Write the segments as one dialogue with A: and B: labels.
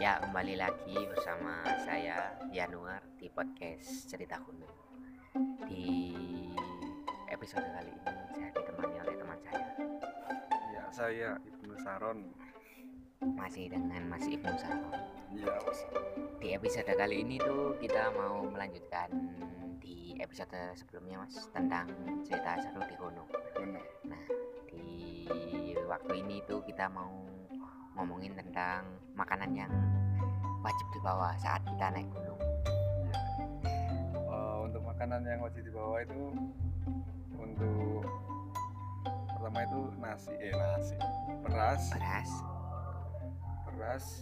A: Ya, kembali lagi bersama saya Yanuar di podcast Cerita Kuno. Di episode kali ini saya ditemani oleh teman saya
B: Ya, saya Ibnu Saron.
A: masih dengan Mas Ibnu Sarwo.
B: Iya, Mas.
A: Di episode kali ini tuh kita mau melanjutkan di episode sebelumnya Mas tentang cerita seru di Kuno.
B: Benar.
A: Di waktu ini tuh kita mau ngomongin tentang makanan yang wajib dibawa saat kita naik gunung.
B: Iya. Eh, untuk makanan yang wajib dibawa itu untuk pertama itu nasi, eh nasi, beras,
A: Beras,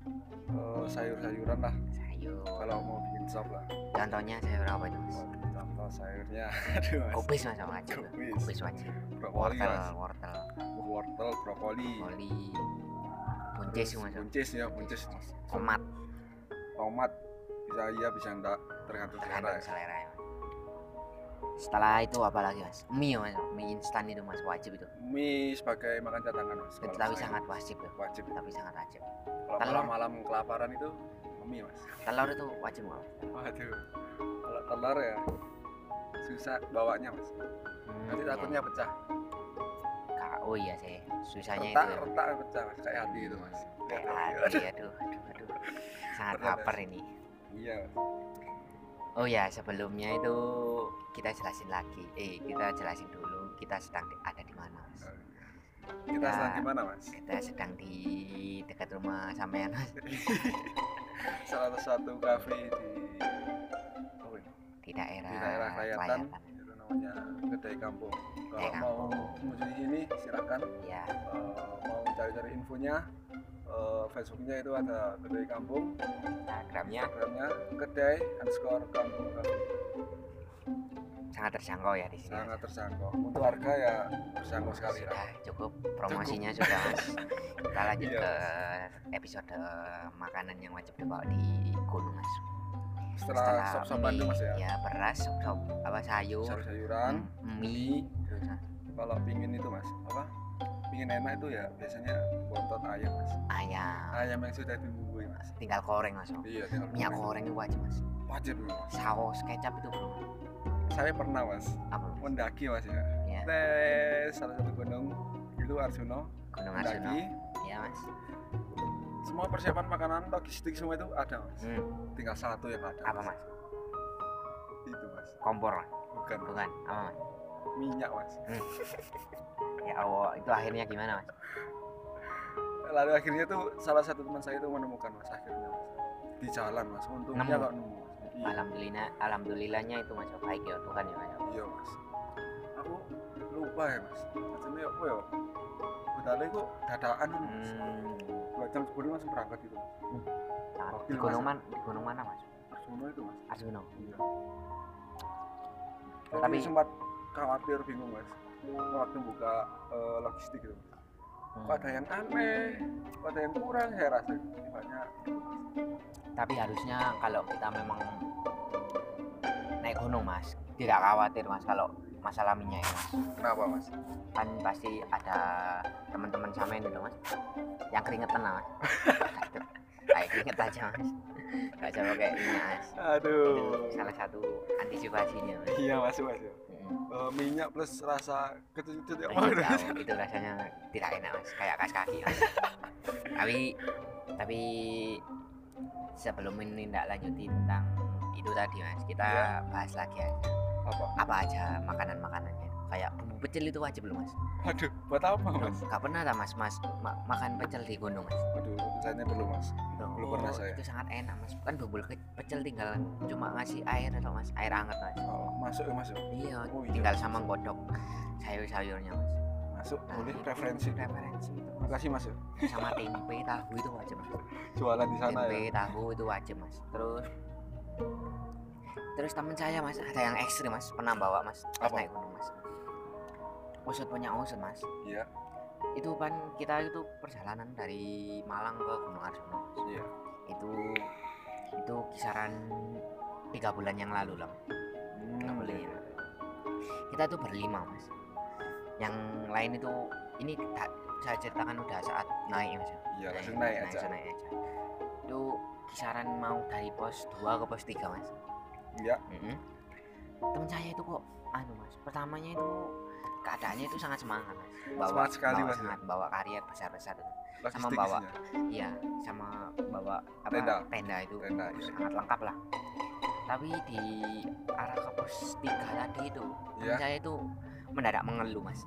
B: beras, eh, sayur-sayuran lah.
A: sayur,
B: Kalau mau bikin sop lah,
A: Contohnya sayur apa itu mas?
B: contoh sayurnya, aduh mas,
A: Kubis mas sama aja tuh.
B: Kubis.
A: Kubis wajib
B: brokoli
A: Wortel,
B: mas,
A: wortel,
B: wortel, brokoli,
A: koli Buncis
B: Terus
A: mas
B: buncis ya, buncis,
A: Tomat
B: tomat, bisa iya bisa enggak tergantung selera.
A: Tergantung
B: ya.
A: selera ya Mas. Setelah itu apa lagi mas? Mie mas Mie instan itu mas wajib itu
B: Mie sebagai makan cadangan mas. kalau
A: Tapi
B: saya.
A: sangat wajib ya
B: wajib
A: Tapi sangat wajib
B: kalau
A: Telur.
B: malam-malam kelaparan itu mie mas
A: Telur itu wajib nggak Mas?
B: waduh kalau telur ya susah bawanya mas
A: Hmm,
B: nanti
A: iya.
B: takutnya pecah
A: Ka- Oh iya sih Susahnya itu
B: retak
A: ya
B: retak pecah mas kayak hati itu mas
A: Kayak
B: Aduh,
A: hati, aduh, aduh, aduh. Sangat
B: Berat, Mas.
A: lapar ini
B: iya mas
A: Oh ya, sebelumnya itu kita jelasin lagi. Eh, kita jelasin dulu kita sedang di- ada di mana, Mas.
B: kita
A: Ya.
B: sedang di mana mas
A: Kita sedang di dekat rumah sampean, Mas.
B: salah satu kafe di oh, ini,
A: Di daerah,
B: di daerah Klayatan
A: Klayatan.
B: itu namanya kedai kampung
A: Kedai
B: kalau mau
A: Kampung.
B: mengunjungi ini silakan
A: Ya,
B: Eh, mau cari-cari infonya eh, Facebooknya itu ada kedai kampung
A: Instagramnya
B: Instagramnya kedai underscore kampung kafe
A: sangat terjangkau ya di sini.
B: sangat
A: Mas.
B: terjangkau untuk harga ya terjangkau sekali lah
A: Sudah cukup promosinya sudah, Mas. Kita lanjut
B: Iya,
A: ke episode makanan yang wajib dibawa di gunung, Mas.
B: setelah sop-sopan itu mas
A: iya.
B: ya,
A: beras, sop-sop apa sayur,
B: sayur-sayuran
A: Hmm. mie,
B: mie kalau pingin itu mas apa pingin enak itu ya biasanya bontot ayam mas
A: ayam,
B: ayam yang sudah dibumbui mas
A: tinggal goreng langsung.
B: iya tinggal
A: Ah. minyak
B: goreng.
A: goreng itu wajib mas
B: wajib dulu mas
A: saus kecap itu belum
B: saya pernah mas
A: apa Mas?
B: mendaki mas ya
A: ya
B: tes salah satu gunung itu Arjuna
A: gunung Arjuna
B: mendaki
A: ya mas
B: semua persiapan makanan logistik semua itu ada mas
A: hmm.
B: tinggal satu yang ada
A: apa mas
B: itu mas
A: kompor Mas?
B: bukan Mas.
A: bukan apa mas
B: minyak mas
A: ya allah itu akhirnya gimana mas
B: lalu akhirnya tuh salah satu teman saya itu menemukan mas akhirnya mas di jalan mas untungnya
A: Nemu.
B: kok nemu mas. Iya,
A: alhamdulillah alhamdulillahnya itu mas baik ya Tuhan ya mas
B: iya mas aku lupa ya mas macamnya apa ya bedalnya kok dadaan ini, mas
A: hmm.
B: dua jam sebelum langsung berangkat gitu mas
A: sangat-
B: Oke,
A: di gunung
B: Mas.
A: mana di gunung mana mas
B: Arjuna itu mas
A: Arjuna
B: iya tapi
A: Tapi-
B: sempat khawatir bingung mas waktu buka eh, logistik gitu mas.
A: Hmm.
B: kok ada yang aneh kok ada yang kurang saya rasa banyak
A: tapi harusnya kalau kita memang naik gunung mas tidak khawatir mas kalau masalah minyak ya mas
B: kenapa mas
A: kan pasti ada teman-teman samain gitu mas yang keringetan lah mas kayak keringet aja mas gak usah pakai minyak mas itu
B: aduh
A: salah satu antisipasinya mas
B: iya mas mas ya.
A: Mm.
B: Eh, minyak plus rasa kecut-kecut ya
A: Keringet
B: Mas.
A: jauh, itu rasanya tidak enak mas kayak kas kaki mas tapi tapi sebelum menindak lanjuti tentang itu tadi mas kita
B: Iya.
A: bahas lagi aja
B: apa
A: apa aja makanan makanannya kayak bumbu pecel itu wajib belum mas
B: aduh buat apa Oh, mas
A: nggak pernah lah mas mas ma- makan pecel di gunung mas
B: aduh misalnya belum mas Belum pernah
A: Nah,
B: saya.
A: oh, Itu sangat enak mas. Kan bubul ke- pecel tinggal cuma ngasih air atau mas air hangat mas.
B: oh, masuk ya masuk
A: Iya.
B: Oh, iya.
A: Tinggal sama godok sayur-sayurnya mas.
B: masuk
A: Nah,
B: boleh
A: itu
B: referensi
A: Referensi itu mas.
B: makasih mas ya.
A: Sama tempe tahu itu wajib mas.
B: jualan di sana
A: Tempe
B: ya
A: tahu itu wajib mas. Terus terus teman saya mas ada yang ekstrim mas pernah bawa mas pas
B: Apa?
A: naik gunung mas. Usut punya usut mas.
B: iya
A: Itu kan kita itu perjalanan dari Malang ke Gunung Arjuna. Mas.
B: iya
A: itu itu kisaran tiga bulan yang lalu lah
B: Hmm.
A: Nggak boleh ya. kita tuh berlima mas yang lain itu ini tak- saya ceritakan udah saat naik mas ya.
B: iya langsung naik aja
A: langsung naik aja itu itu kisaran mau dari pos 2 ke pos 3 mas
B: Iya.
A: Mm-mm. teman saya itu kok anu mas pertamanya itu keadaannya itu sangat semangat mas
B: Semangat sekali,
A: bawa
B: Mas, ya?
A: sangat bawa karya besar besar
B: Logistik
A: bawa
B: isinya.
A: iya sama bawa apa,
B: Tenda.
A: itu
B: Tenda, iya.
A: sangat lengkap lah tapi di arah ke pos 3 tadi itu teman
B: Iya.
A: saya itu mendadak mengeluh mas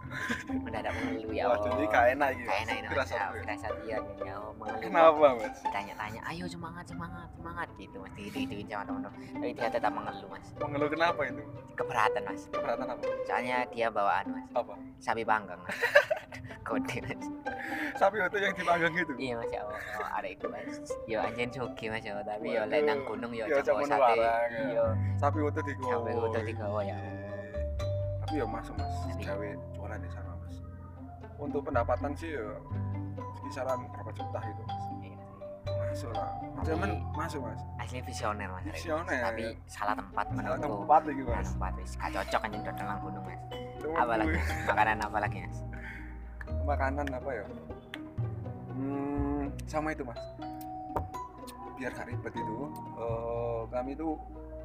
A: mendadak mengeluh ya
B: Waduh, ini
A: Allah.
B: gak Iya. enak gitu.
A: Kayak enak ini mas
B: Firasat
A: ya,
B: gue.
A: firasat iya ya Allah, mengeluh
B: Kenapa, Mas?
A: ditanya-tanya ayo semangat semangat semangat gitu mas gitu gituin sama teman-teman tapi dia tetap mengeluh mas
B: Mengeluh kenapa itu?
A: keberatan mas
B: Keberatan apa?
A: soalnya dia bawaan mas
B: Apa?
A: sapi panggang mas kode mas
B: Sapi itu yang gitu. dipanggang itu.
A: iya mas ya allah oh, ada itu mas yo anjing joki mas ya Allah. tapi yo
B: Waduh.
A: lain nang gunung yo
B: Yo,
A: campur
B: campur
A: sate
B: warang, ya.
A: yo
B: Sapi itu digowo.
A: Sapi utuh digowo, ya.
B: Iya. Tapi ya masuk Mas,
A: Tapi-
B: gawe jualan di sana Mas. Untuk pendapatan sih ya kisaran berapa juta gitu Mas.
A: Iya.
B: Masuk lah.
A: Tapi-
B: Cuman masuk Mas.
A: asli visioner mas Arek, mas.
B: Visioner.
A: tapi salah tempat
B: Salah
A: menurutku
B: tempat lagi
A: salah
B: Mas.
A: tempat wis gak cocok anjing dodol nang gunung mas
B: Cuman
A: apa lagi
B: gue-
A: makanan apa lagi mas
B: makanan apa ya? Hmm, sama itu Mas. Biar gak ribet itu, eh, kami itu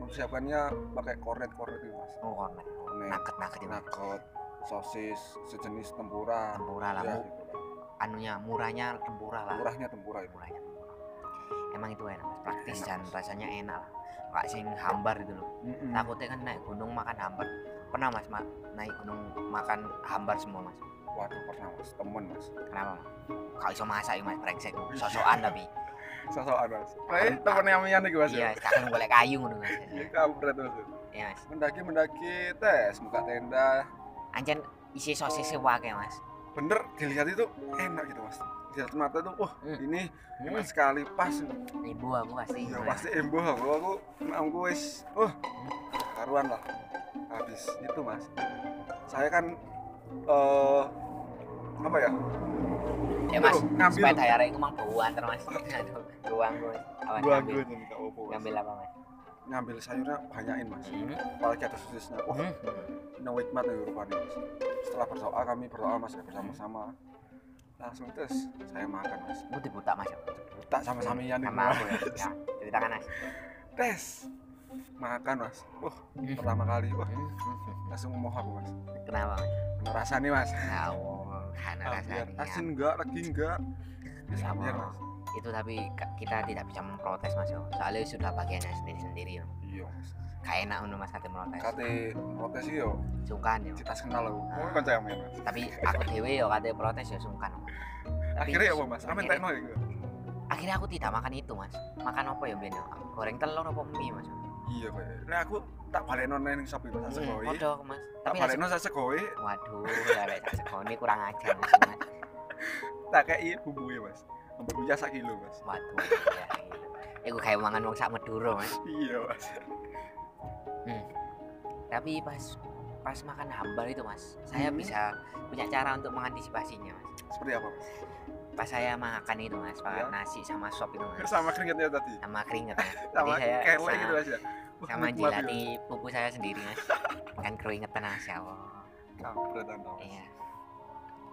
B: mempersiapkannya pakai kornet-kornet itu Mas.
A: oh kornet
B: Kornet.
A: naket naket ya mas
B: Nakot, sosis, sejenis tempura.
A: tempura lah
B: Ya,
A: mu-
B: gitu lah.
A: anunya murahnya tempura lah
B: Murahnya tempura itu.
A: murahnya tempura emang itu enak mas praktis
B: Enak,
A: dan
B: Mas.
A: rasanya enak lah nggak sing hambar gitu loh
B: Mm-mm.
A: takutnya kan naik gunung makan hambar pernah mas ma- naik gunung makan hambar semua mas
B: Waduh pernah mas, temen mas
A: kenapa mas kalau iso masak ya mas brengsek sosokan tapi
B: Sosokan mas
A: Kayak temen
B: yang mian nih mas
A: iya sekarang boleh kayu ngono mas
B: Kampret mas
A: ya mas
B: Mendaki-mendaki tes, buka tenda
A: anjen isi sosisnya wakai mas
B: Bener, dilihat itu enak gitu mas Dilihat mata tuh, wah
A: Hmm.
B: ini
A: Hmm,
B: enak sekali pas
A: ibu aku pasti
B: Ya
A: ngono,
B: pasti embo aku, aku aku wis, wah karuan lah Habis itu mas Saya kan, eh apa ya,
A: ya mas
B: Tuh, ngambil.
A: sepeda ya itu mang bauan terus mas aduh doang mas awan
B: gua
A: ngambil
B: gue jadi gak opo mas
A: ngambil apa mas
B: Ngambil sayurnya banyakin mas
A: Hmm.
B: Apalagi ada sosisnya, wah
A: Hmm.
B: no nikmat yang rupanya mas setelah berdoa kami berdoa mas bersama-sama langsung terus saya makan mas
A: Gue dibuta mas ya
B: tak sama-sama ian itu
A: Sama
B: mas
A: aku ya Ya, Ceritakan mas
B: tes makan mas wah
A: Hmm.
B: pertama kali wah langsung ngomong aku mas
A: Kenapa mas?
B: bener rasanya mas
A: Tahu Karena
B: Ah, biar
A: rasanya
B: asin enggak lagi enggak Wis,
A: Sama.
B: biar mas
A: Itu tapi ka- kita tidak bisa memprotes mas ya Soalnya sudah bagiannya sendiri-sendiri ya.
B: iya mas
A: Gak enak untuk mas kate protes
B: kate protes yo
A: Sungkan ya
B: cita kenal aku
A: Ah.
B: mau kan saya main mas
A: Tapi aku dewe ya kate protes ya sungkan Tapi
B: akhirnya ya apa mas amin
A: akhirnya-
B: tekno ya gue
A: Akhirnya aku tidak makan itu mas Makan apa ya Ben? Goreng telur apa mie mas?
B: iya kok nah aku tak balik nonton yang sapi mas
A: Hmm,
B: segoi
A: Kodok mas
B: iya. tak
A: Tapi
B: balik
A: nasi-
B: nonton saya segoi
A: Waduh, ya, lewat sekoni kurang ajar mas Mas.
B: tak kayak bumbunya mas bumbunya sak kilo mas
A: Waduh, ya gitu. Iku kayak mangan wong sak Madura, Mas.
B: iya mas
A: Tapi pas pas makan hambar itu, Mas, saya
B: Hmm.
A: bisa punya cara untuk mengantisipasinya, Mas.
B: seperti apa mas
A: Pas saya makan itu, Mas,
B: Ya.
A: makan nasi sama sop itu, Mas.
B: sama keringetnya tadi
A: Sama keringet, Mas.
B: sama
A: saya
B: kelek
A: sa-
B: gitu mas ya Wah,
A: Iya, Sama
B: nikmat ya.
A: jilati pupu saya sendiri, Mas. kan keringetan, Mas, ya Allah.
B: Kampret, Mas.
A: Iya.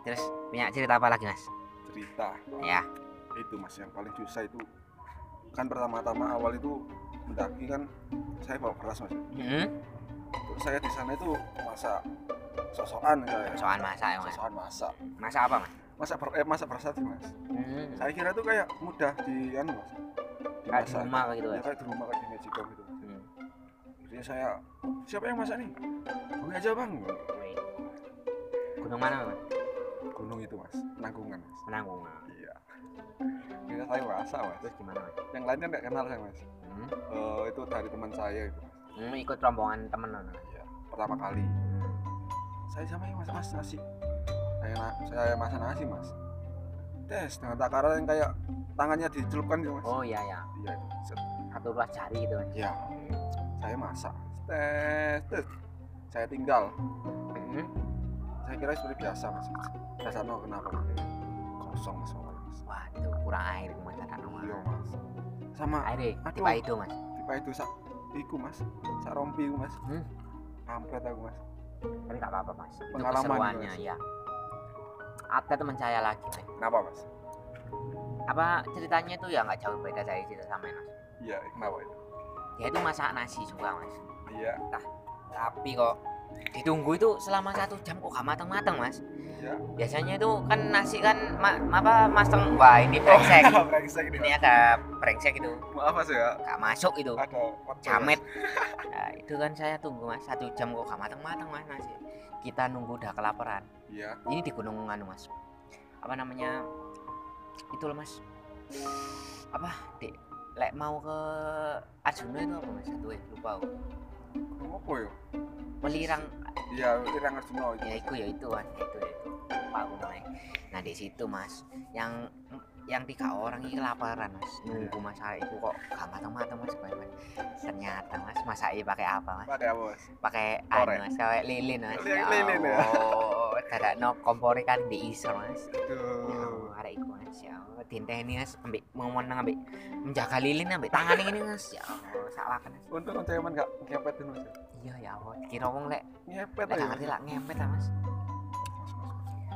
A: Terus punya cerita apa lagi, Mas?
B: cerita
A: Ya.
B: itu mas yang paling susah itu kan pertama-tama awal itu mendaki kan saya bawa beras mas
A: Hmm?
B: terus saya di sana itu masak sosokan kayak
A: Soal masak, ya, Mas.
B: sosokan masak
A: Masak apa, Mas?
B: masak ber eh, masak beras tadi mas
A: Hmm.
B: saya kira itu kayak mudah di anu mas
A: Kayak di
B: Dimasak.
A: rumah kayak gitu,
B: ya
A: Mas.
B: kayak di rumah kayak di magicom gitu
A: Hmm.
B: jadi saya siapa yang masak nih gue aja bang
A: Wih. Gunung mana, Mas?
B: gunung itu mas nanggungan mas
A: Menanggung.
B: iya kira saya merasa mas
A: Terus gimana, Mas?
B: yang lainnya nggak kenal saya mas
A: Hmm?
B: Eh, itu dari teman saya itu mas
A: Hmm, ikut rombongan temen lo. Mas.
B: iya pertama kali saya sama yang masak mas nasi saya, na- saya masak nasi mas tes dengan takaran yang kayak tangannya dicelupkan gitu mas
A: Oh iya ya,
B: iya itu Set.
A: satu belas jari gitu mas.
B: iya saya masak tes tes saya tinggal
A: Hmm.
B: saya kira seperti biasa mas saya sana kenapa mas kosong mas awalnya, mas
A: Waduh, kurang air mas ada nomor.
B: iya mas sama
A: Air deh,
B: Aduh.
A: tiba itu mas.
B: tipe itu sak iku mas sak rompi iku mas
A: Hmm.
B: kampret aku mas
A: Tapi nggak apa-apa mas. Itu
B: Pengalaman,
A: keseruannya
B: Mas.
A: ya. Ada teman saya lagi mas.
B: kenapa mas
A: apa ceritanya tuh ya nggak jauh beda dari cerita sama mas
B: Iya, kenapa itu?
A: dia itu masak nasi juga mas
B: Iya,
A: tapi kok ditunggu itu selama satu jam kok gak matang-matang mas
B: iya.
A: biasanya itu kan nasi kan ma- apa masang wah ini brengsek
B: brengsek ini.
A: ini agak brengsek itu
B: Maaf mas ya,
A: gak masuk itu
B: ada ya? waktu.
A: jamet Nah, itu kan saya tunggu mas satu jam kok gak matang-matang mas nasi kita nunggu udah kelaparan
B: Iya,
A: ini di gunung anu mas apa namanya itu loh mas apa dek lek mau ke Arjuna itu apa mas satu eh, lupa aku
B: apa ya?
A: pelirang
B: Iya, Irang Arjuna itu.
A: ya itu ya itu kan ya itu ya itu pak mulai nah di situ mas yang yang tiga orang ini kelaparan mas nunggu
B: Iya.
A: masak itu kok gak matang matang mas banyak ternyata mas masak ini pakai apa mas
B: Pakai apa mas?
A: pakai
B: Korek.
A: anu mas kayak lilin mas
B: Li- lilin, ya.
A: oh tidak no kompori kan di isor mas Ya
B: Aduh.
A: Allah, arek iku mas ya Allah tinteh ini mas ambek mau menang ambek menjaga lilin ambek tangan ini mas ya Allah salah kan mas
B: Untung untuk emang gak ngepetin mas ya.
A: iya ya Allah kira wong lek
B: Ngepet
A: lek
B: aja.
A: gak ngerti lah ngepet lah mas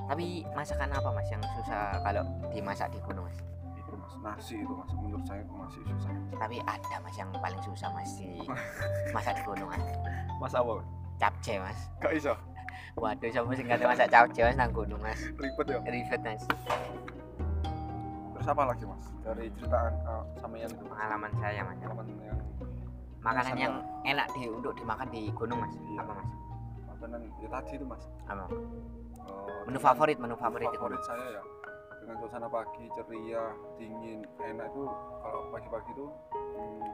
A: tapi masakan apa mas yang susah kalau dimasak di gunung mas
B: Itu mas, nasi itu mas. Menurut saya itu masih susah.
A: tapi ada mas yang paling susah mas di masak di gunung mas
B: Mas apa? Mas?
A: capcay mas
B: Gak bisa,
A: waduh siapa sih nggak tahu masak capcay mas nang gunung mas
B: ribet ya.
A: ribet mas
B: Terus apa lagi mas? Dari ceritaan eh, sama yang itu.
A: pengalaman saya mas
B: Pengalaman yang
A: makanan
B: Masakan.
A: yang enak di untuk dimakan di gunung mas
B: Iya.
A: apa mas
B: makanan ya tadi itu mas.
A: apa
B: Eh,
A: menu
B: dengan-
A: favorit menu favorit
B: favorit,
A: di gunung
B: saya ya dengan suasana pagi ceria dingin enak itu kalau pagi-pagi itu hmm,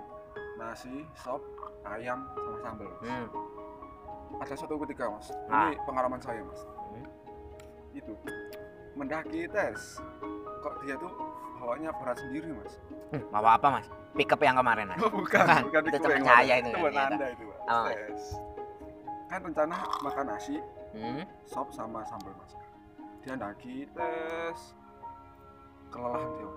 B: nasi sop ayam sama sambal
A: hmm.
B: ada satu ketika mas
A: Nah.
B: ini pengalaman saya mas
A: Hmm.
B: itu mendaki tes kok dia tuh bawanya berat sendiri mas
A: Hmm, bawa apa mas? Pick up yang kemarin mas?
B: oh, bukan
A: Bukan,
B: bukan
A: itu
B: dikue
A: teman
B: yang
A: saya
B: mana.
A: itu
B: teman
A: ya, ternyata.
B: anda itu mas
A: Oh.
B: tes kan rencana makan nasi
A: Hmm,
B: sop sama sambal mas dia nagi tes kelelahan dia Mas.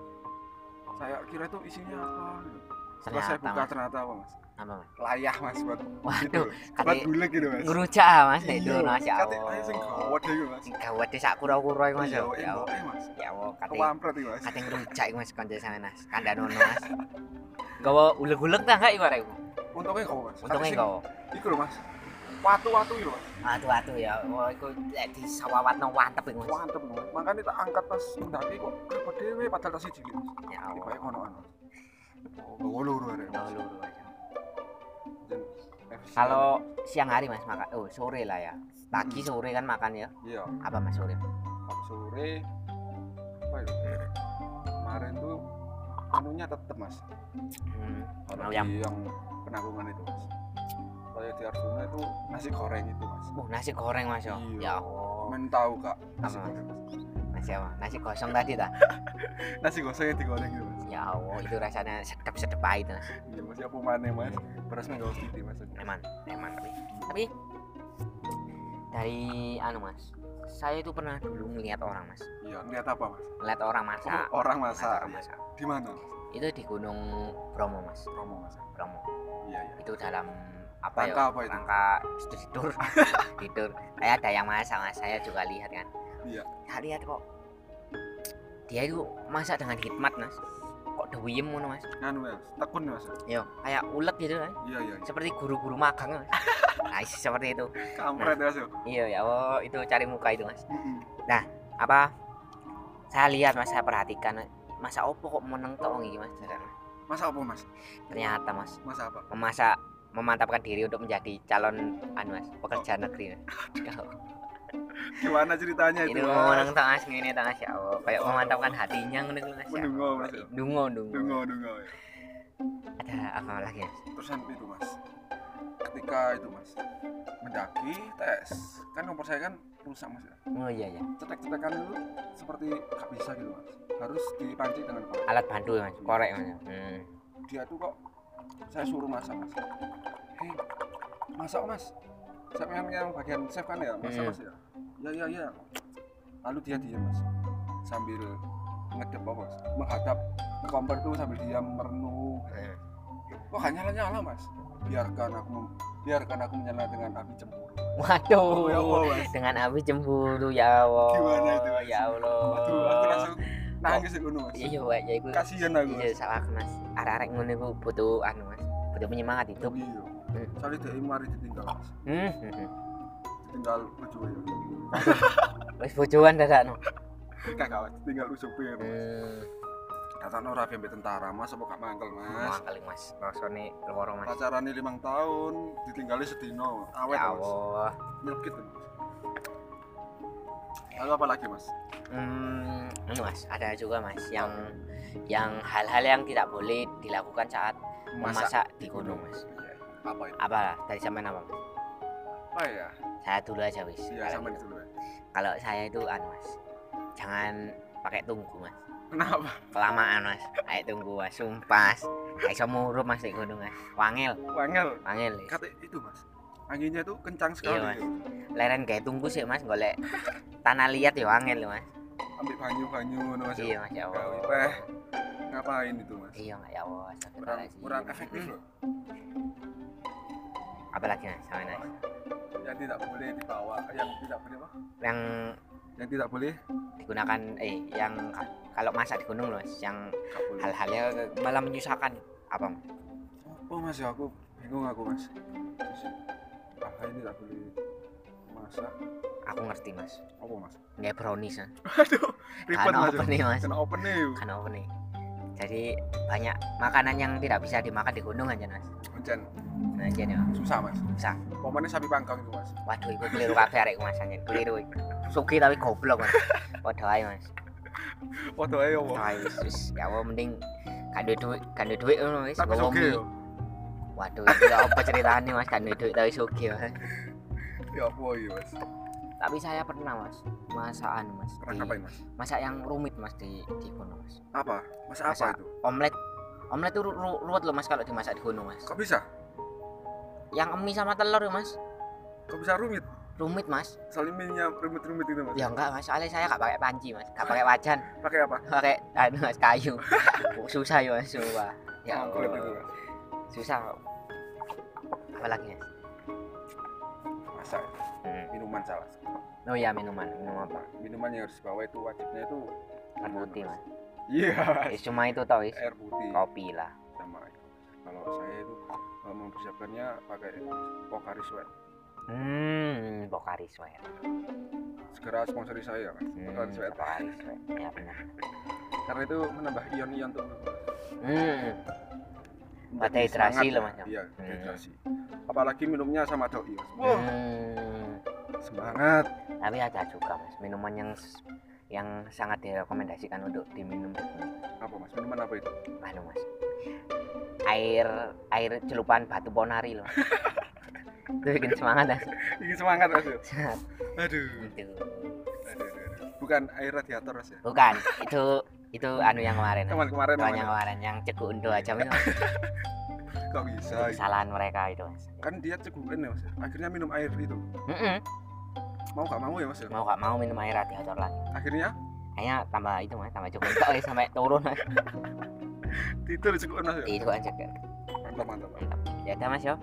B: saya kira itu isinya apa gitu. setelah saya
A: ternyata
B: buka
A: mas.
B: ternyata apa mas
A: Apa mas?
B: layah mas buat gitu
A: Waduh,
B: buat
A: kali
B: bulat gitu mas
A: ngerujak ah, mas nek
B: Iya,
A: dulu mas ya
B: kate layah sing
A: Allah.
B: gawat gitu mas
A: Gawat desa kura-kura iki, mas ya.
B: iya eh,
A: Ya
B: mbok,
A: Allah.
B: eh, mas
A: Ya Allah, kate
B: kewampret itu mas
A: kate ngerujak iki, mas kanca sama mas. Kandanono mas. Gawa uleg-uleg ta enggak iku arek iku?
B: untungnya kau mas
A: Untunge
B: Kate sing-
A: gawa.
B: iku loh mas watu-watu gitu mas
A: Atu-atu ya, wah iku lek disawawatno wantep iku mas.
B: mantep mas makanya tak angkat pas mendaki kok apa dewe padahal tak siji mas
A: Ya
B: ini
A: Allah. Ya
B: baik ono mas oh loro arek,
A: gawa
B: mas
A: luru, Mas.
B: Dan- eh,
A: Kalau siang hari mas makan, oh sore lah ya. Pagi
B: Hmm.
A: sore kan makan ya.
B: iya
A: Apa mas sore?
B: sore apa ya kemarin tuh menunya tetep mas
A: Hmm.
B: kalau
A: Ayam.
B: di yang penanggungan itu mas kalau di Arjuna itu nasi goreng itu mas
A: Uh, nasi goreng mas yo.
B: Iya.
A: Ya Allah.
B: men tahu kak nasi
A: Apa, Mas?
B: goreng mas
A: Nasi apa? Nasi gosong tadi ta?
B: nasi gosongnya digoreng gitu mas
A: Ya Allah, itu rasanya sedep-sedep pahit mas.
B: iya mas ya pemane mas berasnya nggak usah mas
A: Eman, eman tapi. Tapi dari anu mas, saya itu pernah dulu ngeliat orang mas,
B: iya ngeliat apa mas
A: ngeliat orang
B: Oh,
A: masak.
B: orang
A: Ngeliat
B: masak
A: orang masak.
B: di mana
A: Itu di Gunung Bromo mas,
B: Romo mas
A: Bromo.
B: iya iya
A: Itu dalam apa ya?
B: Rangka apa itu?
A: Rangka itu tidur, tidur. Kayak ada yang masak mas, saya juga lihat kan.
B: Iya.
A: Saya lihat kok dia itu masak dengan hikmat mas. Kok dewiem ngono mas?
B: nganu mas tekun mas
A: Yo, kayak ulet gitu kan.
B: iya iya iya.
A: Seperti guru-guru magang. Mas. Nah, seperti itu.
B: kampret mas ya
A: Iya ya, Allah, itu cari muka itu, Mas.
B: Mm-mm.
A: Apa? Saya lihat, Mas, saya perhatikan. Masa opo kok meneng tok iki, Mas?
B: masak apa mas
A: Ternyata, Mas,
B: masak apa
A: memasak memantapkan diri untuk menjadi calon anu Mas, pekerja negeri. Mas. Ya Allah,
B: gimana ceritanya
A: itu
B: itu
A: meneng
B: mas
A: tok Mas ngene tok Mas ya Allah, kayak memantapkan hatinya ngono iku, Mas. ya
B: Menunggu,
A: Allah.
B: Mas, ya.
A: Dungo, dungo.
B: dungo dungo ya
A: Ada apa lagi, Mas?
B: terusan itu mas ketika itu mas mendaki tes kan kompor saya kan rusak mas ya
A: Oh iya ya,
B: cetek-cetekan itu seperti nggak bisa gitu mas harus dipancing dengan korek
A: alat bantu Mas, korek Mas. Hmm.
B: dia tuh kok saya suruh masak mas hei masak mas saya yang, yang bagian chef kan ya masak
A: Hmm.
B: mas ya ya ya ya lalu dia diam mas sambil ngedep apa mas menghadap ke kompor tuh sambil diam merenung
A: Hmm.
B: kok gak nyala nyala Oh, mas biarkan aku biarkan aku menyala dengan api cemburu
A: Waduh.
B: ya Allah mas
A: dengan api cemburu ya Allah
B: Gimana itu, Mas?
A: ya Allah
B: Aduh, aku langsung nangis itu mas
A: iya Pak, ya iku
B: kasihan aku
A: iya
B: mas
A: salah mas arek-arek ngono iku butuh anu mas butuh penyemangat itu
B: iya soalnya dia mari ditinggal mas
A: hmm hmm, hmm.
B: ditinggal ujung ya
A: wis bojoan dadak no
B: kakak mas ditinggal ujung ya mas
A: hmm
B: kata Nora pimpin tentara mas apa gak mangkel mas
A: mangkel mas rasane loro mas
B: pacarannya limang tahun ditinggalnya sedino awet
A: ya
B: mas
A: Allah
B: nyelkit mas lalu apa lagi mas
A: Hmm, anu, mas, ada juga mas yang yang hal-hal yang tidak boleh dilakukan saat memasak di gunung mas.
B: Iya. apa itu
A: Apa dari sampean apa? Mas?
B: apa ya
A: Saya dulu aja wis.
B: iya
A: Kalau-
B: sama itu dulu ya
A: Kalau saya itu anu mas, jangan pakai tunggu mas.
B: kenapa
A: Kelamaan mas, ayo tunggu mas, sumpah. Kayak iso murup mas di gunung mas. Wangil,
B: wangel
A: wangil.
B: kata itu mas anginnya tuh kencang sekali
A: Iya, Mas.
B: ya.
A: Leren kayak tunggu sih mas, golek tanah liat ya wangil ya, mas.
B: ambil banyu banyu mas oh,
A: Iya mas ya
B: Gawe
A: Allah.
B: peh. ngapain itu mas
A: Iya nggak ya Allah. sakit
B: kurang
A: banget sih.
B: kurang efektif loh
A: Apalagi mas, sama mas.
B: yang tidak boleh dibawa yang tidak boleh apa
A: Yang
B: yang tidak boleh
A: digunakan eh yang ka- kalau masak di gunung loh Mas, yang
B: nggak boleh
A: hal-halnya malah menyusahkan apa Mas?
B: oh mas ya aku bingung aku mas Terus, apa ini tidak boleh masak
A: aku ngerti mas
B: apa mas
A: nggak brownies ya
B: aduh ribet
A: kan
B: mas ya?
A: open nih mas
B: kena open nih
A: kan open nih jadi banyak makanan yang tidak bisa dimakan di gunung aja mas
B: hujan
A: nah aja nih Mas.
B: susah mas
A: Susah.
B: pokoknya sapi panggang itu mas
A: waduh itu keliru kabeh arek mas anjir keliru iku. suki tapi goblok mas waduh ae mas
B: waduh ayo
A: waduh
B: mas
A: ae wis wis ya Allah mending kan duit duit kan duit duit ngono wis
B: tapi
A: gowo
B: oke
A: mie.
B: yo
A: waduh itu ya apa ceritanya mas kan duit duit tapi suki mas
B: ya apa iya mas
A: tapi saya pernah mas masakan mas
B: pernah
A: di-
B: ngapain mas
A: masak yang rumit mas di di gunung mas
B: apa mas apa
A: Masak.
B: itu
A: omelet omelet tuh ru- ru- ruwet loh mas kalau dimasak di gunung mas
B: kok bisa
A: yang mie sama telur ya mas
B: kok bisa rumit
A: rumit mas
B: saliminya rumit-rumit gitu mas
A: ya enggak mas soalnya saya gak pakai panci mas gak pakai wajan
B: pakai apa
A: pakai anu mas kayu susah ya mas sumpah ya
B: Oh, kulit itu
A: Allah.
B: mas
A: susah apalagi mas
B: masak
A: hmm.
B: minuman salah
A: oh ya minuman minum apa
B: minuman yang harus dibawa itu wajibnya itu
A: air
B: minuman,
A: putih mas
B: iya
A: Eh, cuma itu tau is
B: air putih
A: kopi lah
B: sama kalau saya itu eh, mempersiapkannya pakai Pocari Sweat
A: hmm pokari sweat
B: segera sponsori saya mas
A: hmm,
B: Pocari Sweat
A: pokari sweat ya benar
B: karena itu menambah ion-ion tuh
A: hmm
B: Menjadi
A: Dehidrasi
B: semangat,
A: loh,
B: Mas.
A: Mas, ya?
B: iya
A: Hmm.
B: dehidrasi apalagi minumnya sama doi mas Wah,
A: hmm.
B: semangat
A: tapi ada juga mas minuman yang s- yang sangat direkomendasikan untuk diminum
B: apa mas minuman apa itu
A: anu mas air air celupan batu ponari loh itu bikin semangat Mas. Gitu.
B: ini semangat mas ya?
A: Semangat.
B: aduh
A: itu
B: aduh, aduh, aduh. bukan air radiator mas ya
A: bukan itu itu anu yang kemarin Mas.
B: kemarin kemarin
A: Tuan yang kemarin yang cegu undo aja itu Mas.
B: kok bisa
A: Itu kesalahan mereka itu mas
B: kan dia cegukan ya mas ya? akhirnya minum air itu
A: Mm-mm.
B: mau gak mau ya mas ya
A: mau gak mau minum air radiator lagi
B: akhirnya
A: kayaknya tambah itu mas tambah cukup Tok, eh, sampai turun mas
B: tidur cegukan mas ya
A: itu kan cek
B: mantap mantap mantap.
A: mantap ya udah mas yo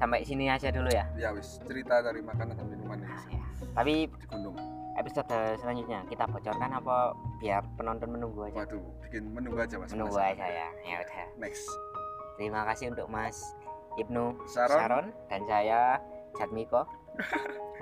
A: sampai sini aja dulu ya
B: ya wis cerita dari makanan dan minuman ya, mas ya.
A: Ya. tapi
B: di gunung
A: episode selanjutnya kita bocorkan apa biar penonton menunggu aja
B: waduh bikin menunggu aja mas
A: menunggu
B: Mas.
A: aja ya ya udah
B: next
A: terima kasih untuk Mas Ibnu Sharon,
B: Sharon
A: dan saya Jatmiko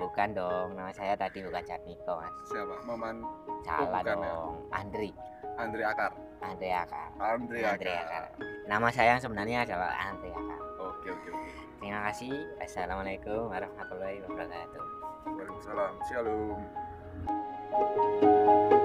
A: bukan dong nama saya tadi bukan Jatmiko Mas
B: siapa Maman
A: salah
B: bukan ya.
A: dong Andri
B: Andre Akar
A: Andri Akar
B: Andre
A: Andre Akar
B: Akar
A: nama saya yang sebenarnya adalah Andri Akar
B: oke oke oke
A: terima kasih assalamualaikum warahmatullahi wabarakatuh
B: Waalaikumsalam shalom